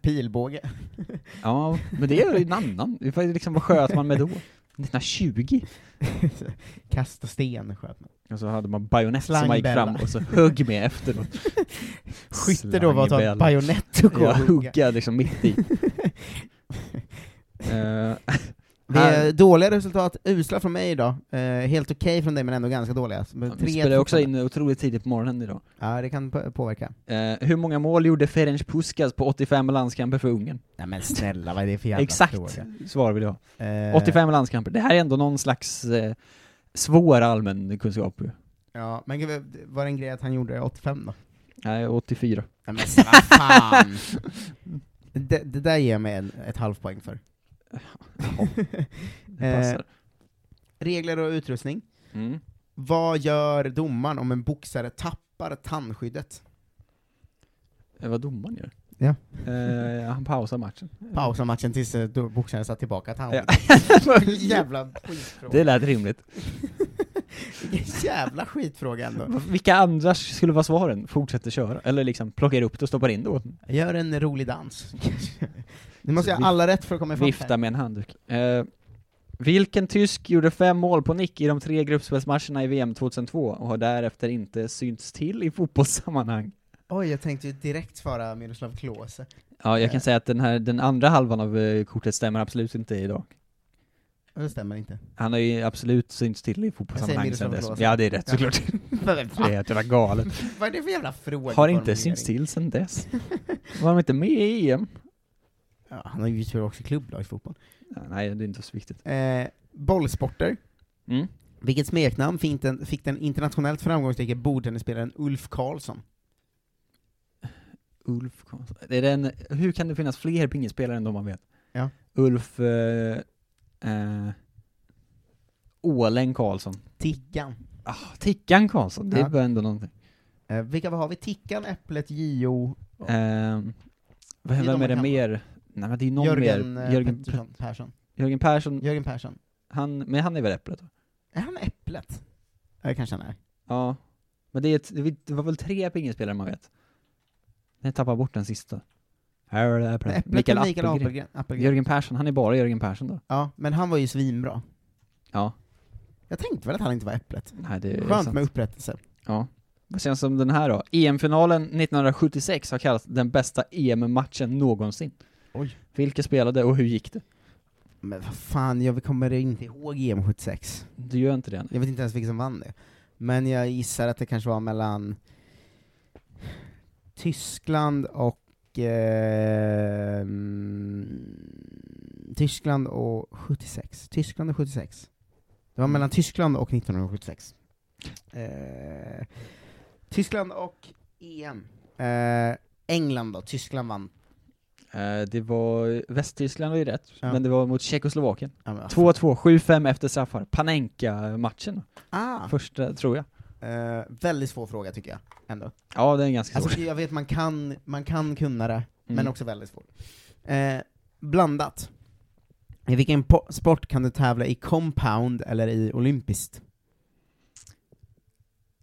S7: Pilbåge. (laughs)
S8: Ja, men det är ju en annan. Det var ju Liksom, vad sköt man med då? 1920?
S7: Kasta sten sköt man.
S8: Och så hade man bajonett som man gick
S7: Slangbella.
S8: fram och så högg med efteråt.
S7: Skytte då var att ta
S8: Slangbella.
S7: en bajonett och gå
S8: Ja,
S7: och hugga.
S8: hugga liksom
S7: (laughs)
S8: mitt i. Eh,
S7: Det är dåliga resultat, usla från mig idag. Eh, helt okej från dig men ändå ganska dåliga. Men
S8: vi
S7: tre
S8: spelade också
S7: fortfarande.
S8: in otroligt tidigt på morgonen idag.
S7: Ja, det kan p- påverka.
S8: Eh, hur många mål gjorde Ferenc Puskas på 85 landskamper för Ungern?
S7: Nej men snälla, vad är det för jävla
S8: Exakt
S7: fråga?
S8: svar vill jag ha.
S7: Eh,
S8: 85 landskamper. Det här är ändå någon slags eh, svår allmän kunskap ju.
S7: Ja, men gud, var det en grej att han gjorde det 85 då?
S8: Nej, 84.
S7: Nej men vad fan! (laughs) det, det där ger mig en, ett halvpoäng för. Eh.
S8: Det passar.
S7: (laughs) Regler och utrustning.
S8: Mm.
S7: Vad gör domaren om en boxare tappar tandskyddet?
S8: Eh, Vad domaren gör?
S7: Ja.
S8: Eh, han pausar matchen.
S7: Pausa matchen tills eh, då boxaren satt tillbaka tandskyddet. (laughs) jävla skitfråga.
S8: det lät rimligt.
S7: Vilken jävla skitfråga
S8: (laughs)
S7: ändå.
S8: Vilka andra skulle vara svaren? Fortsätter köra, eller liksom plockar upp det och stoppar in det åt den.
S7: Gör en rolig dans. (laughs) Nu måste
S8: Så
S7: jag
S8: vif-
S7: ha alla rätt för att komma ifatt
S8: Vifta
S7: här.
S8: med en handduk. Eh, vilken tysk gjorde fem mål på nick i de tre gruppspelsmatcherna i VM 2002 och har därefter inte synts till i fotbollssammanhang?
S7: Oj, jag tänkte ju direkt svara Miroslav Klose.
S8: Ja, jag
S7: Eh.
S8: kan säga att den, här, den andra halvan av eh, kortet stämmer absolut inte idag.
S7: Men Det stämmer
S8: (laughs)
S7: inte.
S8: Han har ju absolut synts till i
S7: Jag
S8: fotbollssammanhang
S7: säger
S8: sedan
S7: Miroslav
S8: dess.
S7: Klose.
S8: Ja, det är rätt
S7: Ja.
S8: såklart. Det är helt
S7: (laughs)
S8: jävla galet.
S7: Vad är det för jävla fråga?
S8: Har inte synts till sedan dess. Var de inte med i E EM?
S7: Ja, han har ju tyvärr också klubblag i fotboll.
S8: Ja, Nej, det är inte så viktigt.
S7: Eh, bollsporter.
S8: Mm.
S7: Vilket smeknamn fick den, fick den internationellt framgångsrike bordtennisspelaren Ulf Karlsson?
S8: Ulf Karlsson. Är det en, hur kan det finnas fler pingisspelare än de man vet?
S7: Ja.
S8: Ulf eh, eh, Åläng Karlsson.
S7: Tickan.
S8: Ah, Tickan Karlsson, det
S7: Ja.
S8: var ändå någonting.
S7: Eh, vilka har vi? Tickan, Äpplet, Gio,
S8: Eh, vem
S7: är de
S8: vem
S7: man
S8: är det
S7: kan-
S8: mer? Nej men det är någon
S7: Jörgen,
S8: mer.
S7: eh,
S8: Jörgen,
S7: Pettersson, Persson.
S8: Jörgen Persson,
S7: Jörgen Persson.
S8: han, men han är väl Äpplet? då?
S7: Är han Äpplet? Ja, det kanske han är.
S8: Ja. Men det, är ett, det var- det var väl tre pingisspelare man vet? Jag tappar bort den sista. Här är det Äpplet.
S7: Äpplet
S8: Mikael
S7: och Mikael
S8: Appelgren.
S7: Appelgren. Appelgren.
S8: Jörgen Persson, han är bara Jörgen Persson då.
S7: Ja, men han var ju svinbra.
S8: Ja.
S7: Jag tänkte väl att han inte var Äpplet.
S8: Nej, det är
S7: Skönt
S8: sant.
S7: med upprättelse.
S8: Ja. Vad känns som den här då? EM-finalen 1976 har kallats den bästa EM-matchen någonsin.
S7: Oj.
S8: Vilka spelade och hur gick det?
S7: Men vad fan, jag kommer inte ihåg E EM 76.
S8: Du gör inte det än.
S7: Jag vet inte ens vilka som vann det. Men jag gissar att det kanske var mellan Tyskland och... Eh, mm, Tyskland och 76. Tyskland och 76. Det var mellan Tyskland och 1976. Eh, Tyskland och EM. Eh, England då, Tyskland vann.
S8: Eh, det var Västtyskland var ju rätt,
S7: Ja.
S8: men det var mot Tjeckoslovakien.
S7: Ja, men vad fan.
S8: 2-2, 7-5 efter straffar. Panenka-matchen.
S7: Ah,
S8: Första, tror jag.
S7: eh, väldigt svår fråga tycker jag, ändå.
S8: Ja, det är en ganska svår.
S7: Alltså, jag vet man kan, man kan kunna det, men
S8: Mm.
S7: också väldigt svårt. Eh, blandat. I vilken po- sport kan du tävla i compound eller i olympiskt?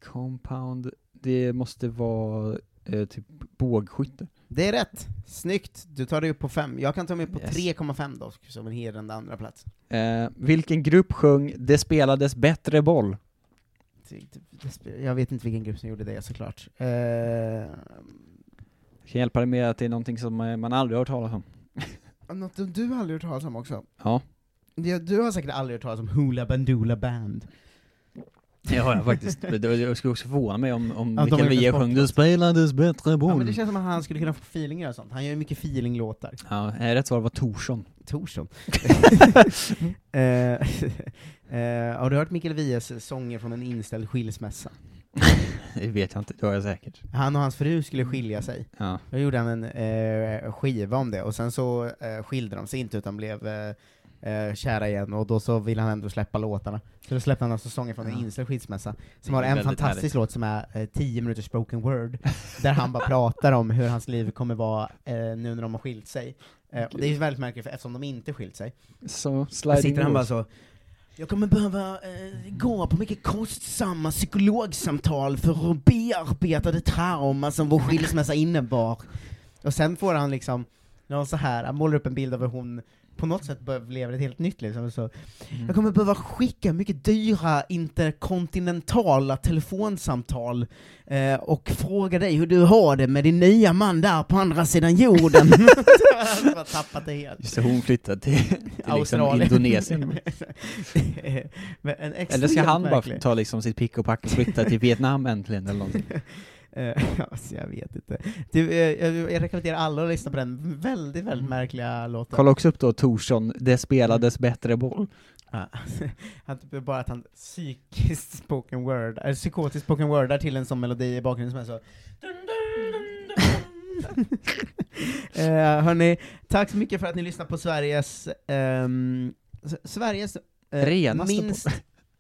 S8: Compound, det måste vara eh, typ bågskytte.
S7: Det är rätt! Snyggt! Du tar dig upp på fem. Jag kan ta mig upp på
S8: Yes.
S7: 3,5 dock, som en hedrande andra plats.
S8: Eh, vilken grupp sjöng ”Det spelades bättre boll”?
S7: Det- det- det spe- Jag vet inte vilken grupp som gjorde det såklart. Eh,
S8: Jag kan hjälpa dig med att det är någonting som eh, man aldrig har hört talas om.
S7: något som du aldrig hört talas om också.
S8: Ja,
S7: Det- Du har säkert aldrig hört talas om Hula Bandoola Band.
S8: det har jag faktiskt. Det- det- Jag skulle också förvåna mig om, om
S7: Ja, de har
S8: Mikael
S7: gjort en
S8: Wiehe
S7: sport-
S8: sjöng ”Det spelades bättre
S7: Ja, men
S8: boll”.
S7: det känns som att han skulle kunna få feelingar och sånt. Han gör ju mycket feelinglåtar.
S8: Ja, eh, rätt svar var
S7: (laughs)
S8: Torsson.
S7: Torsson. eh, (laughs) eh, har du hört Mikael Wiehes sånger från en inställd skilsmässa?
S8: Det vet jag inte, det har jag säkert.
S7: Han och hans fru skulle
S8: Mm.
S7: skilja sig.
S8: Ja.
S7: Då gjorde han en eh, skiva om det, och sen så eh, skilde de sig inte utan blev eh, eh, kära igen, och då så ville han ändå släppa låtarna. Så då släppte han alltså sånger från en
S8: Ja.
S7: inställd skilsmässa, som
S8: Det
S7: har
S8: är
S7: en
S8: väldigt
S7: fantastisk
S8: härligt.
S7: låt som är eh, 10 minuters spoken word, där han bara pratar om hur hans liv kommer vara eh, nu när de har skilt sig. Eh, och det är ju väldigt märkligt, för eftersom de inte skilt sig,
S8: Så,
S7: Där
S8: sliding
S7: sitter han bara så
S8: doors.
S7: Jag kommer behöva eh, gå på mycket kostsamma psykologsamtal för att bearbeta det trauma som vår skilsmässa innebar. Och sen får han liksom någon så här, han målar upp en bild av hur hon på något sätt bör- lever ett helt nytt liv. Som Så, Jag kommer behöva skicka mycket dyra interkontinentala telefonsamtal eh, och fråga dig hur du har det med din nya man där på andra sidan (laughs) jorden. Han har tappat det helt.
S8: Just det, hon flyttade till, till liksom
S7: Australien. (laughs)
S8: Indonesien.
S7: Men en
S8: Eller ska
S7: extremt
S8: han bara
S7: märklig-
S8: ta liksom sitt pick och pack och flytta till Vietnam äntligen
S7: (laughs)
S8: eller någonting?
S7: Eh, alltså, jag vet inte. Du, eh, jag, jag rekommenderar alla att lyssna på den väldigt, väldigt märkliga låten.
S8: Mm. Kolla också upp då Torsson, det spelades bättre boll.
S7: (laughs) Han typ bara att han psykiskt spoken word, eller psykotiskt spoken wordar till en sån melodi i bakgrunden som är
S8: (laughs)
S7: så eh, Hörni, tack så mycket för att ni lyssnar på Sveriges, ehm, S- Sveriges eh,
S8: Renaste po-
S7: minst,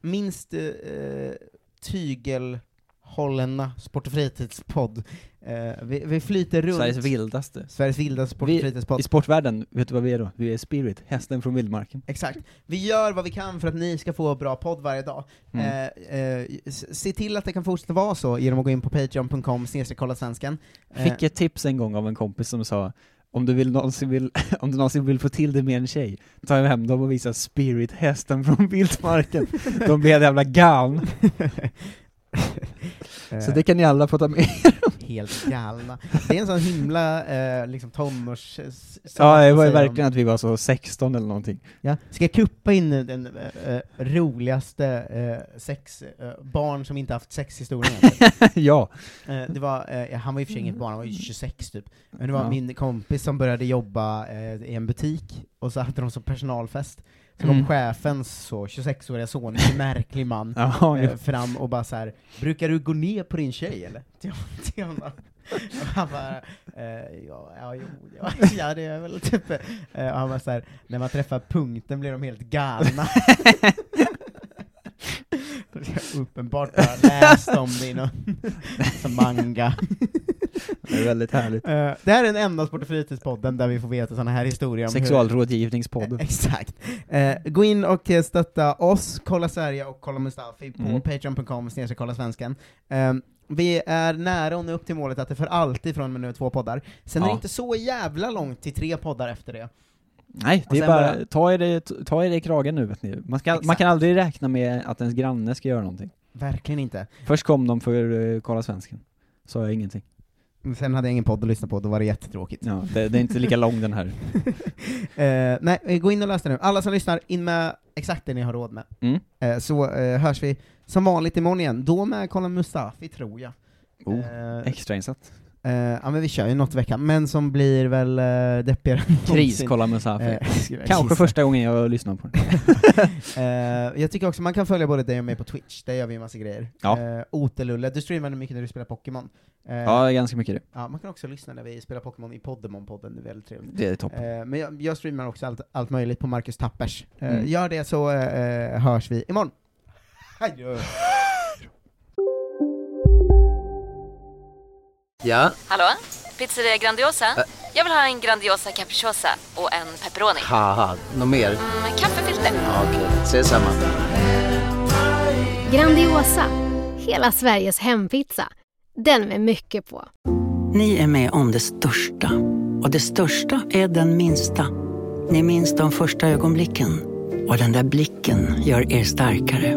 S7: minst eh, tygelhållna sport och fritidspodd. Eh, vi, vi flyter runt
S8: Sveriges vildaste.
S7: Sveriges vilda sport och
S8: Vi-
S7: fritidspodd.
S8: I sportvärlden, vet du vad vi är då? Vi är Spirit, hästen från vildmarken.
S7: Exakt. Vi gör vad vi kan för att ni ska få bra podd varje dag.
S8: Mm.
S7: Eh, eh, s- se till att det kan fortsätta vara så genom att gå in på patreon.com snedstreck kolla svensken. Eh,
S8: Fick ett tips en gång av en kompis som sa om du, vill någonsin vill, (laughs) om du någonsin vill få till det med en tjej, ta hem dem och visa Spirit, hästen från (laughs) vildmarken. De blir helt jävla galna. Så
S7: eh,
S8: det kan ni alla få ta med.
S7: Helt galna. Det är en sån himla eh, liksom tonårs... s-
S8: Ja, det var ju
S7: säger de.
S8: verkligen att vi var så 16 eller någonting.
S7: Ja. Ska jag kuppa in den eh, eh, roligaste eh, sex, eh, barn som inte haft sexhistorien?
S8: (laughs) (laughs) ja.
S7: Eh, det var, eh, han var ju för sig inget barn, han var ju 26 typ. Men det var
S8: Mm. Ja.
S7: min kompis som började jobba eh, i en butik, och så hade de så personalfest. Så kom
S8: Mm.
S7: chefens så, 26-åriga son, en märklig man,
S8: Ja,
S7: eh, fram och bara så här. ”Brukar du gå ner på din tjej eller?” till hon- till honom. han bara, eh, ja, ja, jo, ja, (laughs) ja, det är väl typ. eh, och han bara så här, när man träffar punkten blir de helt galna. (laughs) De har Uppenbart bara läst om det i någon (laughs) som manga.
S8: Det är väldigt härligt.
S7: Eh, det här är den enda Sport och fritidspodden där vi får veta sådana här historier om hur,
S8: Sexualrådgivningspodden.
S7: Eh, Exakt. Eh, gå in och eh, stötta oss, Kolla Sverige och Kolla Mustafi på
S8: Mm.
S7: patreon.com snedstreck kolla svensken. Eh, vi är nära och nu upp till målet att det för alltid från och med nu är två poddar. Sen är det
S8: Ja.
S7: inte så jävla långt till tre poddar efter det.
S8: Nej,
S7: Och
S8: det
S7: sen
S8: är
S7: bara-
S8: bara, ta er, det- ta er i kragen nu vet ni. Man, ska, man
S7: Exakt.
S8: kan aldrig räkna med att ens granne ska göra någonting.
S7: Verkligen inte.
S8: Först kom de för uh, Kolla Svensken. Sa jag ingenting.
S7: Sen hade jag ingen podd att lyssna på, då var det jättetråkigt.
S8: Ja, det, det är inte lika lång den här.
S7: Eh, nej, eh, gå in och läs det nu. Alla som lyssnar, in med exakt det ni har råd med.
S8: Mm.
S7: Eh, så eh, hörs vi som vanligt imorgon igen, då med Kolla Mustafi tror jag.
S8: Oh,
S7: Eh,
S8: extrainsatt.
S7: Eh, ja men vi kör ju något i veckan, men som blir väl uh, deppigare än
S8: Kris,
S7: någonsin.
S8: kolla Musafi.
S7: Eh, (laughs) skulle jag
S8: Kanske
S7: gissa.
S8: första gången jag lyssnar på den.
S7: Eh, jag tycker också man kan följa både dig och mig på Twitch, där gör vi en massa grejer.
S8: Ja.
S7: Eh, Otelulle, du streamar mycket när du spelar Pokémon. Eh,
S8: Ja, ganska mycket det.
S7: ja, Man kan också lyssna när vi spelar Pokémon i Poddemon-podden, det är väldigt trevligt.
S8: Det är toppen.
S7: Eh, men jag, jag streamar också allt, allt möjligt på Marcus Tappers. Eh,
S8: Mm.
S7: Gör det så eh, hörs vi imorgon. Adjö.
S11: Ja,
S12: Hallå? Pizzeria Grandiosa? Jag vill ha en Grandiosa capriciosa och en pepperoni.
S11: haha, något mer?
S12: Med kaffefilter.
S11: Ja, Okej, ses samma.
S13: Grandiosa, hela Sveriges hempizza. Den med mycket på.
S14: Ni är med om det största. Och det största är den minsta. Ni minns de första ögonblicken. Och den där blicken gör er starkare.